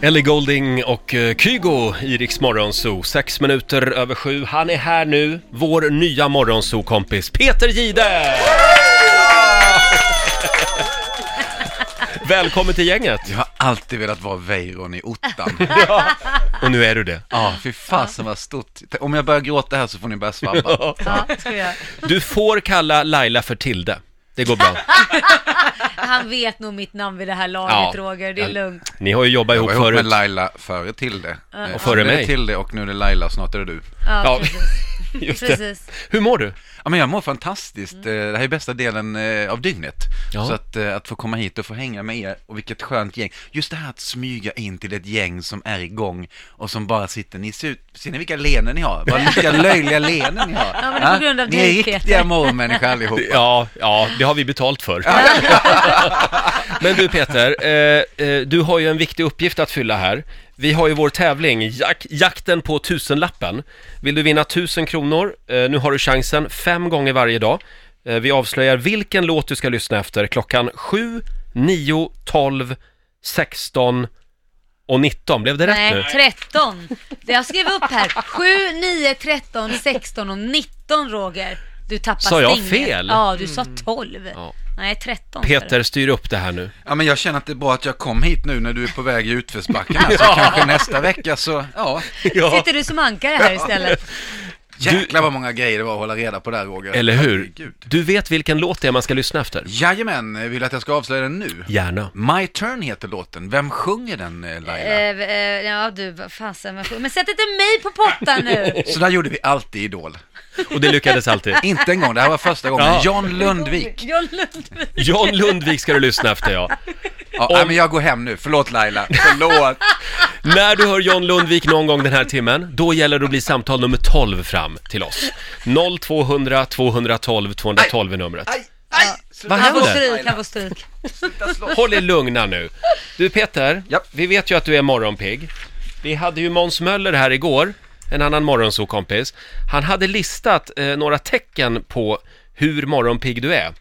Ellie Golding och eh, Kygo i Rix Morgonzoo. Sex minuter över sju. Han är här nu, vår nya Morgonzoo-kompis Peter Gide! Välkommen till gänget! Jag har alltid velat vara Weiron i ottan. Och nu är du det. Ja, fy fasen vad stort. Om jag börjar gråta här så får ni börja svabba. Ja, det ska vi göra. Du får kalla Laila för Tilde. Det går bra. Han vet nog mitt namn vid det här Ja. laget, Roger. Det är lugnt. Ni har ju jobbat Jag var ihop ihop förut. med Laila före till det. Eh, Och före nu är det mig. Till det och nu är det Laila, snart är det du. Ja, Ja. precis. Just det. precis. Hur mår du? Ja, men jag mår fantastiskt. Mm. Eh, Det här är bästa delen eh, av dygnet. Ja. Så att, eh, att få komma hit och få hänga med er och vilket skönt gäng. Just det här att smyga in till ett gäng som är igång och som bara sitter, ni ser ut, ser ni vilka leenden ni har? Vad vilka löjliga leenden ni har. Ja, men det är på grund av ni är dig, riktiga Peter. mormänniskor allihop. Ja, ja, det har vi betalt för. Men du Peter, eh, eh, du har ju en viktig uppgift att fylla här. Vi har ju vår tävling, jak- jakten på tusenlappen. Vill du vinna tusen kronor, eh, nu har du chansen fem gånger varje dag. Eh, vi avslöjar vilken låt du ska lyssna efter klockan 7, 9, 12, 16 och 19. Blev det rätt nu? Nej, 13. Det jag skrev upp här. 7, 9, 13, 16 och 19, Roger. Du tappar Sa jag stinget. fel? Mm. Ja, du sa 12. Ja. Nej, 13. sa Peter, styr upp det här nu. Ja, men jag känner att det är bra att jag kom hit nu när du är på väg i utförsbacken. här, Så kanske nästa vecka så, ja. du. Sitter du som ankare här istället? Jäklar vad många grejer det var att hålla reda på där, Roger. Eller hur? Herregud. Du vet vilken låt det är man ska lyssna efter? Jajamän, vill du att jag ska avslöja den nu? Gärna. My Turn heter låten. Vem sjunger den, eh, Laila? Eh, eh, ja, du, vad fasen. vad sjukt. Men sätt inte mig på pottan nu. Så där gjorde vi alltid i Idol. Och det lyckades alltid. Inte en gång, det här var första gången. Ja. John Lundvik. Jag lugnar mig. John Lundvik ska du lyssna efter ja. Ja, nej, men jag går hem nu. Förlåt Laila. Förlåt. När du hör John Lundvik någon gång den här timmen, då gäller det att bli samtal nummer 12 fram till oss. 0200 212 212 är numret. Aj, aj. Sluta Vad Han får händer? stryk, han får stryk. slå. Håll er lugna nu. Du Peter, Japp. vi vet ju att du är morgonpigg. Vi hade ju Måns Möller här igår, en annan morgonsokompis. Han hade listat eh, några tecken på hur morgonpigg du är.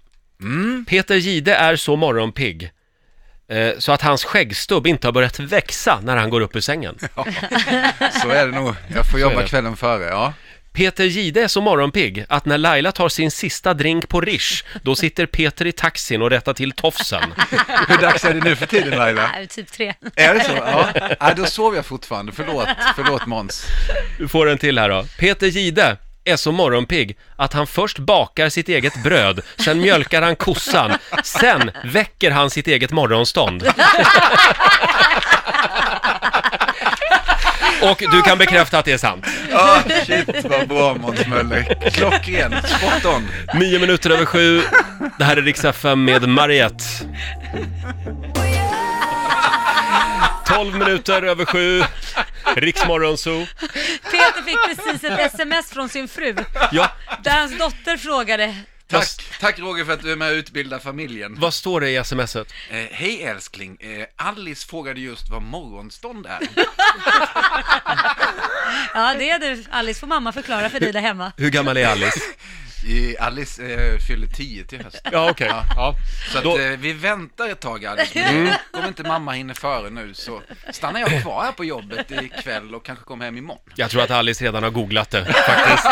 Peter Gide är så morgonpigg eh, så att hans skäggstubb inte har börjat växa när han går upp ur sängen. Så är det nog. Jag får är jobba det. kvällen före, ja. Peter Gide är så morgonpigg att när Laila tar sin sista drink på Rish, då sitter Peter i taxin och rättar till tofsen. Hur dags är det nu för tiden, Laila? Nej, typ tre. Är det så? Ja. Nej, då sover jag fortfarande. Förlåt, förlåt Måns. Du får en till här då. Peter Gide är så morgonpigg att han först bakar sitt eget bröd, sen mjölkar han kossan, sen väcker han sitt eget morgonstånd. Och du kan bekräfta att det är sant. Ja, Ah, shit vad bra Måns Möller. Klockren, spot on. Nio minuter över sju. Det här är Rix FM med Mariette. 12 minuter över sju. Riksmorgon Zoo. Peter fick precis ett sms från sin fru. Ja, Där hans dotter frågade Tack, tack Roger för att du är med och utbildar familjen. vad står det i smset? Eh, hej älskling, eh, Alice frågade just vad morgonstånd är. Ja, det är du. Alice får mamma förklara för dig där hemma. Hur gammal är Alice? Eh, Alice eh, fyller 10 till hösten. Ja, okej. Ja. Så att, Då- eh, vi väntar ett tag Alice, men om inte mamma hinner före nu så stannar jag kvar här på jobbet ikväll och kanske kommer hem imorgon. Jag tror att Alice redan har googlat det faktiskt.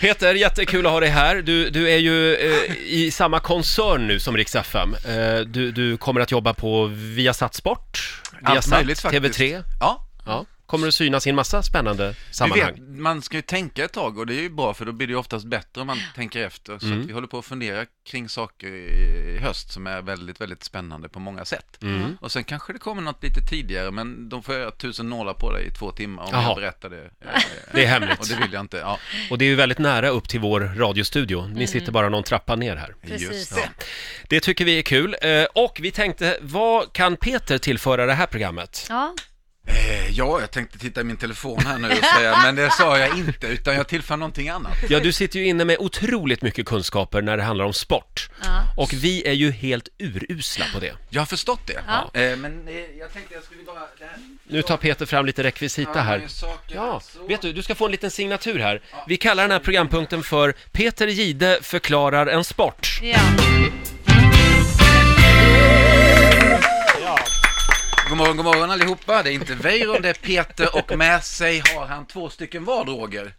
Peter, jättekul att ha dig här. Du, du är ju eh, i samma koncern nu som Rix FM. Eh, du, du kommer att jobba på Viasat Sport, Viasat, TV3. Ja, Ja. Kommer du synas i en massa spännande du sammanhang? vet, man ska ju tänka ett tag och det är ju bra för då blir det ju oftast bättre om man tänker efter. Så att vi håller på att fundera kring saker i höst som är väldigt, väldigt spännande på många sätt. Mm. Och sen kanske det kommer något lite tidigare men de får göra tusen nålar på dig i två timmar om Jaha. jag berättar det. Eh, Det är Och hemligt. det vill jag inte. Ja, Och det är ju väldigt nära upp till vår radiostudio. Mm. Ni sitter bara någon trappa ner här. Precis. det. Det tycker vi är kul. Eh, Och vi tänkte, vad kan Peter tillföra det här programmet? Ja, Eh, Ja, jag tänkte titta i min telefon här nu och säga, men det sa jag inte, utan jag tillför någonting annat. Ja, du sitter ju inne med otroligt mycket kunskaper när det handlar om sport. Ja. Och vi är ju helt urusla på det. Jag har förstått det. Ja. Eh, Men eh, jag tänkte jag skulle bara... Det här, Nu tar Peter fram lite rekvisita här. Ja, vet du, du ska få en liten signatur här. Vi kallar den här programpunkten för Peter Gide förklarar en sport. ja. God morgon, god morgon allihopa. Det är inte Weiron, det är Peter och med sig har han två stycken vad, Roger.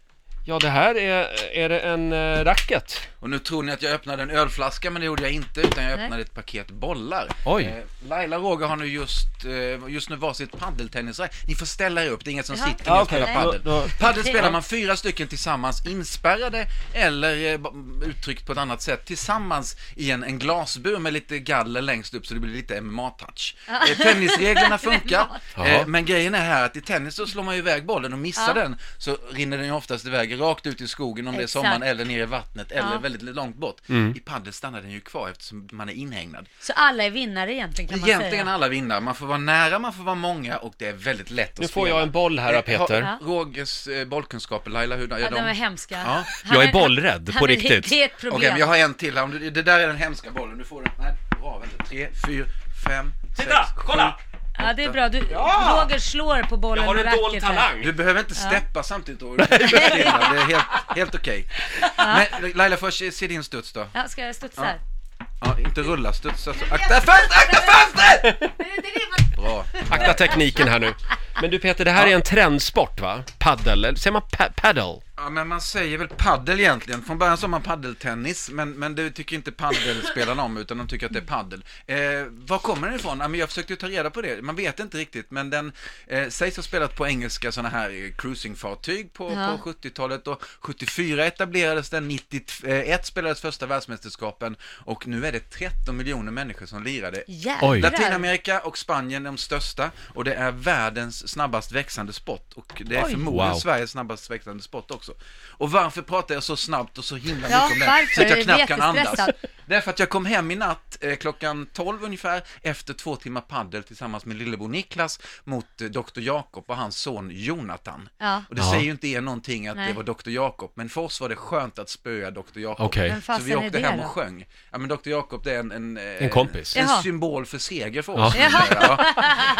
Ja, det här är, är det en eh, racket? Och nu tror ni att jag öppnade en ölflaska, men det gjorde jag inte, utan jag Nej. öppnade ett paket bollar. Oj. Eh, Laila och Roger har nu just, eh, just nu varsitt paddeltennisracket. Ni får ställa er upp, det är inget som Jaha. sitter Ja, när jag okej. spelar paddel. Då- då- Paddel Okej. spelar man fyra stycken tillsammans, inspärrade eller eh, ba- uttryckt på ett annat sätt, tillsammans i en, en glasbur med lite galler längst upp så det blir lite MMA-touch. Eh, tennisreglerna funkar, Jaha. eh, men grejen är här att i tennis så slår man ju iväg bollen och missar Ja. den så rinner den ju oftast iväg rakt ut i skogen om det är Exakt. sommaren eller ner i vattnet eller Ja. väldigt långt bort. Mm. I padel stannar den ju kvar eftersom man är inhägnad. Så alla är vinnare egentligen kan man Egentligen säga. alla vinnare, man får vara nära, man får vara många och det är väldigt lätt att Nu spela. får jag en boll här av Eh, har- Peter. Ja. Rogers eh, bollkunskaper, Laila, hur är Ja, de är de? hemska. Ja. Han Jag är bollrädd, på han är- riktigt. Det är ett Okej, problem. men jag har en till här. Om du, det där är den hemska bollen. Du får den. Nej, bra. Vänta. Tre, fyra, fem, Titta, sex, kolla! sju. Ja, det är bra. Du, Roger slår på bollen Jag har med en dold racket här. talang! Du behöver inte steppa samtidigt Roger. Det är helt, helt okej. Men Laila, får jag se- se din studs då? Ja, ska jag studsa här? Ja, inte rulla, studsa. så- Akta fönstret! Akta fönstret! Bra. Akta tekniken här nu. Men du Peter, det här är en trendsport va? Paddel, eller säger man pa- paddle? Ja, men man säger väl paddel egentligen. Från början sa man paddeltennis, men, men det tycker inte paddelspelarna om, utan de tycker att det är paddel. Eh, var kommer den ifrån? Ja, men jag försökte ju ta reda på det. Man vet inte riktigt, men den eh, sägs ha spelat på engelska sådana här eh, cruisingfartyg på, Ja. på 70-talet och 74 etablerades den, 91 spelades första världsmästerskapen och nu är det 13 miljoner människor som lirade. Oj. Jävlar. Latinamerika och Spanien är de största och det är världens snabbast växande sport och det är förmodligen Wow. Sveriges snabbast växande sport också. Och varför pratar jag så snabbt och så himla Ja, mycket om det varför? så att Jag jag är knappt kan andas? jättestressad. Det är för att jag kom hem i natt eh, klockan 12 ungefär efter två timmar paddel tillsammans med lillebror Niklas mot eh, Dr. Jakob och hans son Jonathan. Ja. Och det Ja. säger ju inte er någonting att Nej. det var Dr. Jakob, men för oss var det skönt att spöa Dr. Jakob. Okej. Vem Så fasen vi är åkte det hem då? och sjöng. Ja men Dr. Jakob det är en... En, eh, En kompis. En Jaha. symbol för seger för oss. Ja. Ja.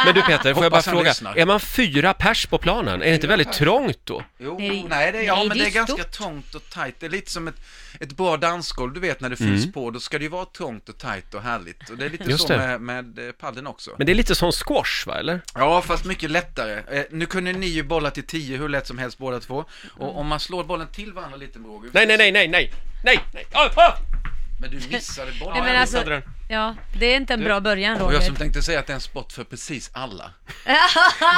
Men du Peter, får jag bara Hoppas han fråga, lyssnar. är man fyra pers på planen? Är det inte väldigt trångt då? Jo, Nej, nej, det, är- ja, nej, men det det är är ganska stort. trångt och tajt. Det är lite som ett, ett bra dansgolv, du vet när det fylls på, då ska det ju vara trångt och tajt och härligt. Och det är lite Mm. Just så det. med, med eh, paddeln också. Men det är lite som squash va, eller? Ja, fast mycket lättare. Eh, nu kunde ni ju bolla till 10 hur lätt som helst båda två. Och om man slår bollen till varandra lite med Roger, Nej, nej, nej, nej, nej, nej, nej, ah, ah! men du missade bollen. Nej, men alltså, missade den. ja, det är inte en bra början Och jag som Roger. tänkte säga att det är en sport för precis alla.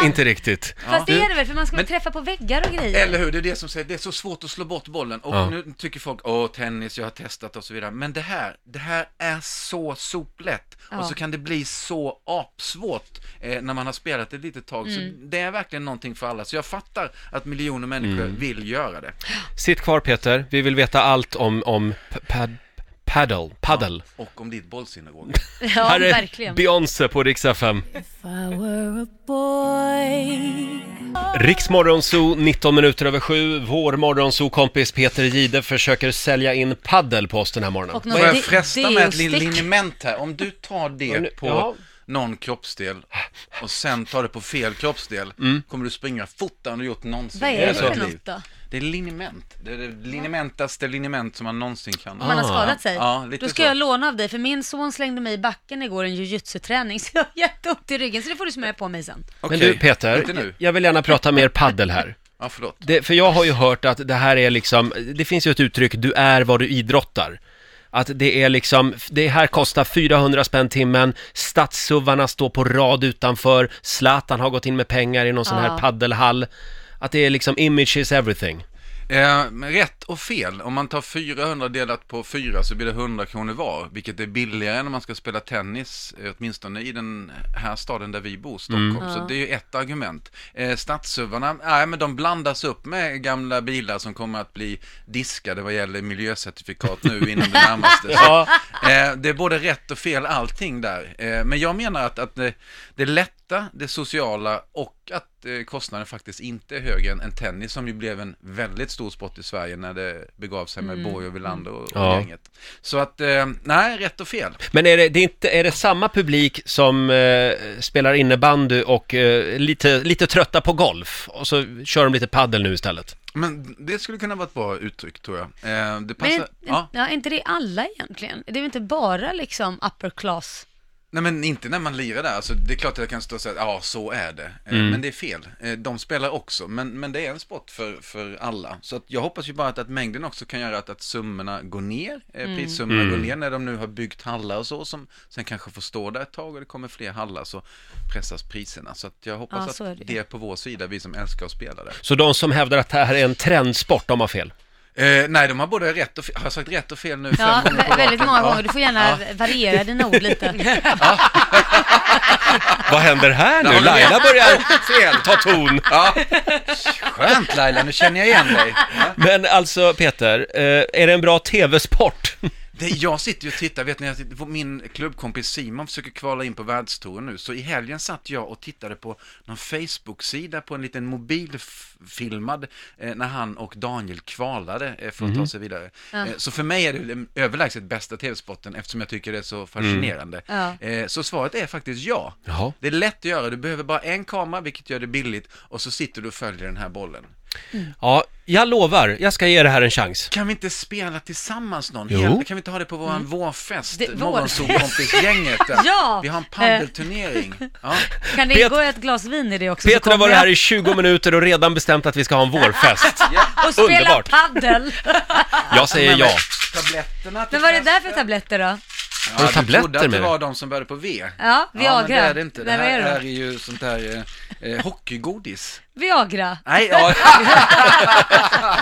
Inte riktigt. Fast det Du- är det väl, för man ska väl Men- träffa på väggar och grejer. Eller hur, det är det som säger, det är så svårt att slå bort bollen och Ja. nu tycker folk, åh tennis, jag har testat och så vidare. Men det här, det här är så soplätt Ja. och så kan det bli så apsvårt eh, när man har spelat ett litet tag. Mm. Så det är verkligen någonting för alla, så jag fattar att miljoner människor Mm. vill göra det. Sitt kvar Peter, vi vill veta allt om, om p- pad, paddle, paddle. Och om ditt bollsinne Roger. Ja, Här är verkligen. Beyoncé på Rix FM. boy. Riks morgonzoo, 19 minuter över sju. Vår morgonzoo-kompis Peter Gide försöker sälja in paddel på oss den här morgonen. Och Får någon jag fresta med ett deostick. lin- liniment här? Om du tar Ja, nu- det på ja. någon kroppsdel och sen tar det på fel kroppsdel, Mm. kommer du springa fortare än du gjort någonsin Vad är i det hela för ditt liv. något då? Det är liniment. Det är det linimentaste liniment som man någonsin kan. Om man har Ah. skadat sig. Ja, lite Då ska så. jag låna av dig, för min son slängde mig i backen igår i en jujutsu-träning, så jag har jätteont i ryggen, så det får du smörja på mig sen. Men Okej, du Peter, Inte nu. jag vill gärna prata mer paddel här. Ja, förlåt. Det, för jag har ju hört att det här är liksom, det finns ju ett uttryck, du är vad du idrottar. Att det är liksom, det här kostar 400 spänn timmen, stadssuvarna står på rad utanför, Zlatan har gått in med pengar i någon sån Ja. här paddelhall. Att det är liksom image is everything. Eh, men rätt och fel. Om man tar 400 delat på 4 så blir det 100 kronor var, vilket är billigare än om man ska spela tennis, eh, åtminstone i den här staden där vi bor, Stockholm. Mm. Så det är ju ett argument. Eh, Stadssuvarna, nej men de blandas upp med gamla bilar som kommer att bli diskade vad gäller miljöcertifikat nu inom det närmaste. Så Ja. Eh, det är både rätt och fel allting där. Eh, men jag menar att, att det, det lätta, det sociala och att eh, kostnaden faktiskt inte är högre än, än tennis som ju blev en väldigt stor sport i Sverige när det begav sig med Borg och Wilander och, och Ja. gänget. Så att, eh, nej, rätt och fel. Men är det, det är inte, är det samma publik som eh, spelar innebandy och eh, lite, lite trötta på golf och så kör de lite paddel nu istället? Men det skulle kunna vara ett bra uttryck tror jag. Eh, det passar, Men ja. ja. är inte det alla egentligen? Det är väl inte bara liksom upper class Nej men inte när man lirar där, alltså, det är klart att jag kan stå och säga ja så är det, Eh, men det är fel. Eh, De spelar också, men, men det är en sport för, för alla. Så att jag hoppas ju bara att, att mängden också kan göra att, att summorna går ner, mm. prissummorna går ner när de nu har byggt hallar och så, som sen kanske får stå där ett tag och det kommer fler hallar så pressas priserna. Så att jag Ja, hoppas så är att det. det är på vår sida, vi som älskar att spela där. Så de som hävdar att det här är en trendsport, de har fel. Eh, nej, de har både rätt och fel, har jag sagt rätt och fel nu fem Ja, gånger på vä- väldigt raken? många Ja. gånger. Du får gärna variera dina ord lite. Vad händer här Där nu? har ni Laila rätt. börjar Fel! ta ton. Ja. Skönt Laila, nu känner jag igen dig. Ja. Men alltså Peter, eh, är det en bra tv-sport? Det, jag sitter ju och tittar, vet ni, jag sitter, min klubbkompis Simon försöker kvala in på världstouren nu, så i helgen satt jag och tittade på någon Facebook-sida på en liten mobilfilmad eh, när han och Daniel kvalade eh, för att ta sig vidare. Eh, så för mig är det den överlägset bästa tv-spotten eftersom jag tycker det är så fascinerande. Ja. Eh, så svaret är faktiskt ja. Jaha. Det är lätt att göra, du behöver bara en kamera, vilket gör det billigt, och så sitter du och följer den här bollen. Ja, jag lovar, jag ska ge det här en chans. Kan vi inte spela tillsammans någon? Jo. Hel- Kan vi inte ha det på våran vårfest? Mm. Det- vår- Morgonsolkompisgänget. Ja! Eh. Vi har en padelturnering. Ja. Kan det Pet- ingå ett glas vin i det också? så Peter har kommer varit jag. här i 20 minuter och redan bestämt att vi ska ha en vårfest. Och spela Underbart. paddel. Jag säger ja. Tabletterna till Men vad är det där festen. för tabletter då? Ja, Har du tabletter Du trodde att med det dig? var de som började på V. Ja, Ja, men det Viagra. är det inte. Det Nej, vad här är det då? är ju sånt här eh, eh, hockeygodis. Viagra. Nej, ja.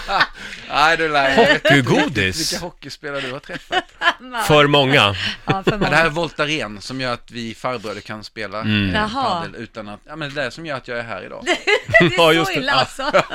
Nej, du lär Hockeygodis? Vilka hockeyspelare du har träffat. För många. Ja, för Det här många. är Voltaren som gör att vi farbröder kan spela eh, Mm. Jaha. padel utan att, ja men det är det som gör att jag är här idag. Det är Ja, så just det. illa Ja. alltså.